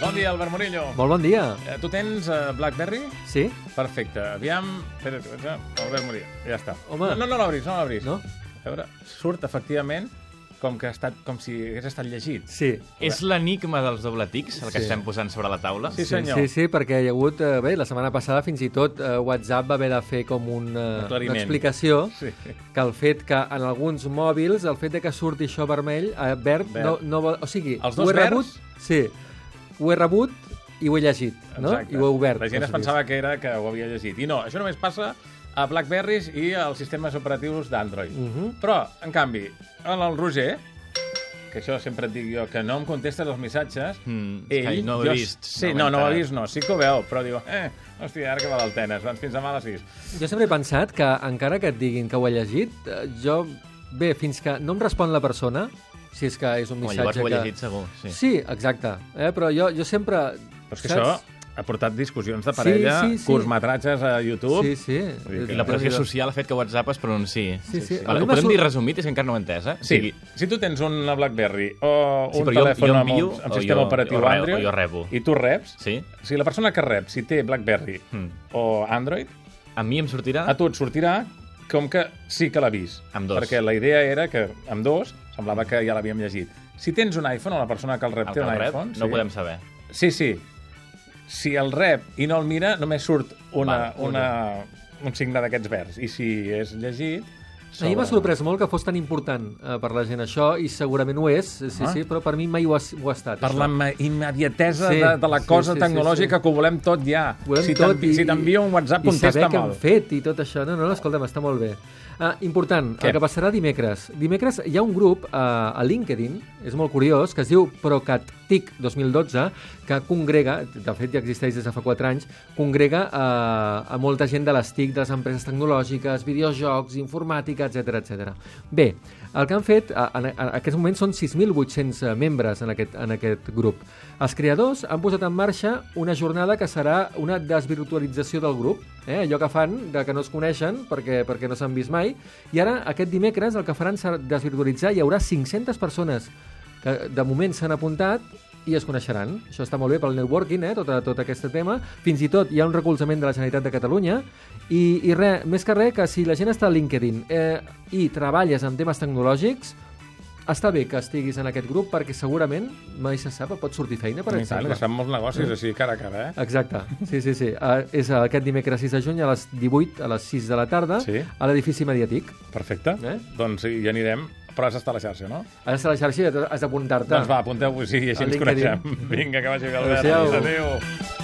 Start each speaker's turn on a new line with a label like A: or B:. A: Bon dia, Albert Murillo.
B: Molt bon dia.
A: Eh, Tu tens eh, Blackberry?
B: Sí?
A: Perfecte. Aviam... Espera, espera, Albert Murillo. Ja està.
B: Home.
A: No, no, no l'obris, no l'obris.
B: No?
A: A veure, surt, efectivament, com que ha estat, com si hagués estat llegit.
B: Sí.
C: És l'enigma dels dobletics, el que
B: Sí.
C: estem posant sobre la taula?
A: Sí, senyor.
B: Sí, sí, perquè hi ha hagut... Eh, bé, la setmana passada fins i tot eh, WhatsApp va haver de fer com un, eh,
A: Aclariment.
B: una explicació
A: Sí.
B: que el fet que en alguns mòbils el fet de que surti això vermell, eh, verd,
A: Verd.
B: No, no vol... O sigui,
A: Els dos
B: ho he
A: verds?
B: rebut... Sí. Ho he rebut i ho he llegit, no?
A: Exacte.
B: I ho he obert.
A: La gent es
B: no sé
A: pensava que era que ho havia llegit. I no, això només passa a Blackberries i als sistemes operatius d'Android.
B: Mhm.
A: Però, en canvi, en el Roger, que això sempre et dic jo, que no em contesta els missatges,
C: Mm, és que no ho he
A: jo
C: vist,
A: Sí, no,
C: no m'he
A: no ho he
C: enterat.
A: vist, no. Sí que ho veu, però diu, eh, hòstia, ara que va l'Altenes, doncs fins demà a les 6.
B: Jo sempre he pensat que, encara que et diguin que ho he llegit, eh, jo... Bé, fins que no em respon la persona, si és que és un
C: Home,
B: missatge
C: llavors ho he
B: que...
C: llegit segur, sí.
B: Sí, exacte. Eh? Però jo, jo sempre...
A: Però és que això ha portat discussions de parella,
B: Sí, sí, sí.
A: curtmetratges a YouTube...
B: Sí, sí.
A: Vull dir que-
C: I la pressió
B: Déu-n'hi-do.
C: social ha fet que WhatsApp es pronunciï.
B: Sí, sí. A
C: Vale,
B: mi
C: ho
B: m'ha
C: podem
B: sor-
C: dir resumit, és que encara no ho he entès, eh? O
A: Sí,
C: sigui,
A: si tu tens una BlackBerry o
C: Sí,
A: un
C: però jo-
A: telèfon
C: jo
A: amb,
C: envio
A: un, amb
C: o
A: sistema
C: jo-
A: operatiu
C: o re- o
A: Android
C: jo rebo.
A: i tu reps,
C: Sí.
A: si la persona que rep, si té BlackBerry
C: Mm.
A: o Android,
C: A mi em sortirà...
A: a tu et sortirà com que sí que l'ha vist.
C: Ah. Amb dos.
A: Perquè la idea era que amb dos semblava que ja l'havíem llegit. Si tens un iPhone o la persona que el rep
C: el
A: té
C: que
A: un
C: el rep,
A: iPhone...
C: no ho podem saber.
A: Sí, sí. Si el rep i no el mira, només surt una,
C: Val,
A: una, un signe d'aquests verds. I si és llegit...
B: Ahir
C: eh?
B: m'ha
A: sobre-
B: sorprès molt que fos tan important eh, per la gent això, i segurament ho és, sí,
A: Ah.
B: sí, però per mi mai ho ha, s- ho ha estat.
A: per la
B: això.
A: ma- immediatesa
B: Sí,
A: de, de la
B: sí,
A: cosa
B: sí, sí,
A: tecnològica
B: sí.
A: que ho volem tot ja.
B: Volem
A: si
B: tot
A: t'envi-
B: i-
A: si t'envia un WhatsApp,
B: I
A: contesta
B: saber què
A: mal.
B: han fet i tot això. No, no, no, escolta'm, està molt bé. Ah, important,
A: Què?
B: el que passarà dimecres. Dimecres hi ha un grup eh, a LinkedIn, és molt curiós, que es diu Procattic 2012, que congrega, de fet ja existeix des de fa 4 anys, congrega eh, a molta gent de les TIC, de les empreses tecnològiques, videojocs, informàtica, etc etc. Bé, el que han fet, eh, en, en aquests moments són 6.800 eh, membres en aquest, en aquest grup. Els creadors han posat en marxa una jornada que serà una desvirtualització del grup, eh? allò que fan de que no es coneixen perquè, perquè no s'han vist mai, i ara aquest dimecres el que faran serà desvirtualitzar, hi haurà 500 persones que de moment s'han apuntat i es coneixeran. Això està molt bé pel networking, eh? tot, tot aquest tema. Fins i tot hi ha un recolzament de la Generalitat de Catalunya i, i res, més que res, que si la gent està a LinkedIn eh, i treballes en temes tecnològics, està bé que estiguis en aquest grup perquè segurament, mai se sap, pot sortir feina, per
A: I tant,
B: exemple. Mm.
A: que fan molts negocis així, cara a cara, eh?
B: Exacte, sí, sí, sí. Uh, és aquest dimecres 6 de juny a les 18, a les 6 de la tarda,
A: Sí.
B: a l'edifici mediàtic.
A: Perfecte. Eh?
B: Eh?
A: Doncs sí, hi anirem, però has d'estar a la xarxa, no?
B: Has de la xarxa i has d'apuntar-te.
A: Doncs va, apunteu-vos sí, i així
B: Al
A: ens
B: LinkedIn.
A: coneixem. Vinga, que vagi bé, Albert.
B: Adéu.
A: Adéu.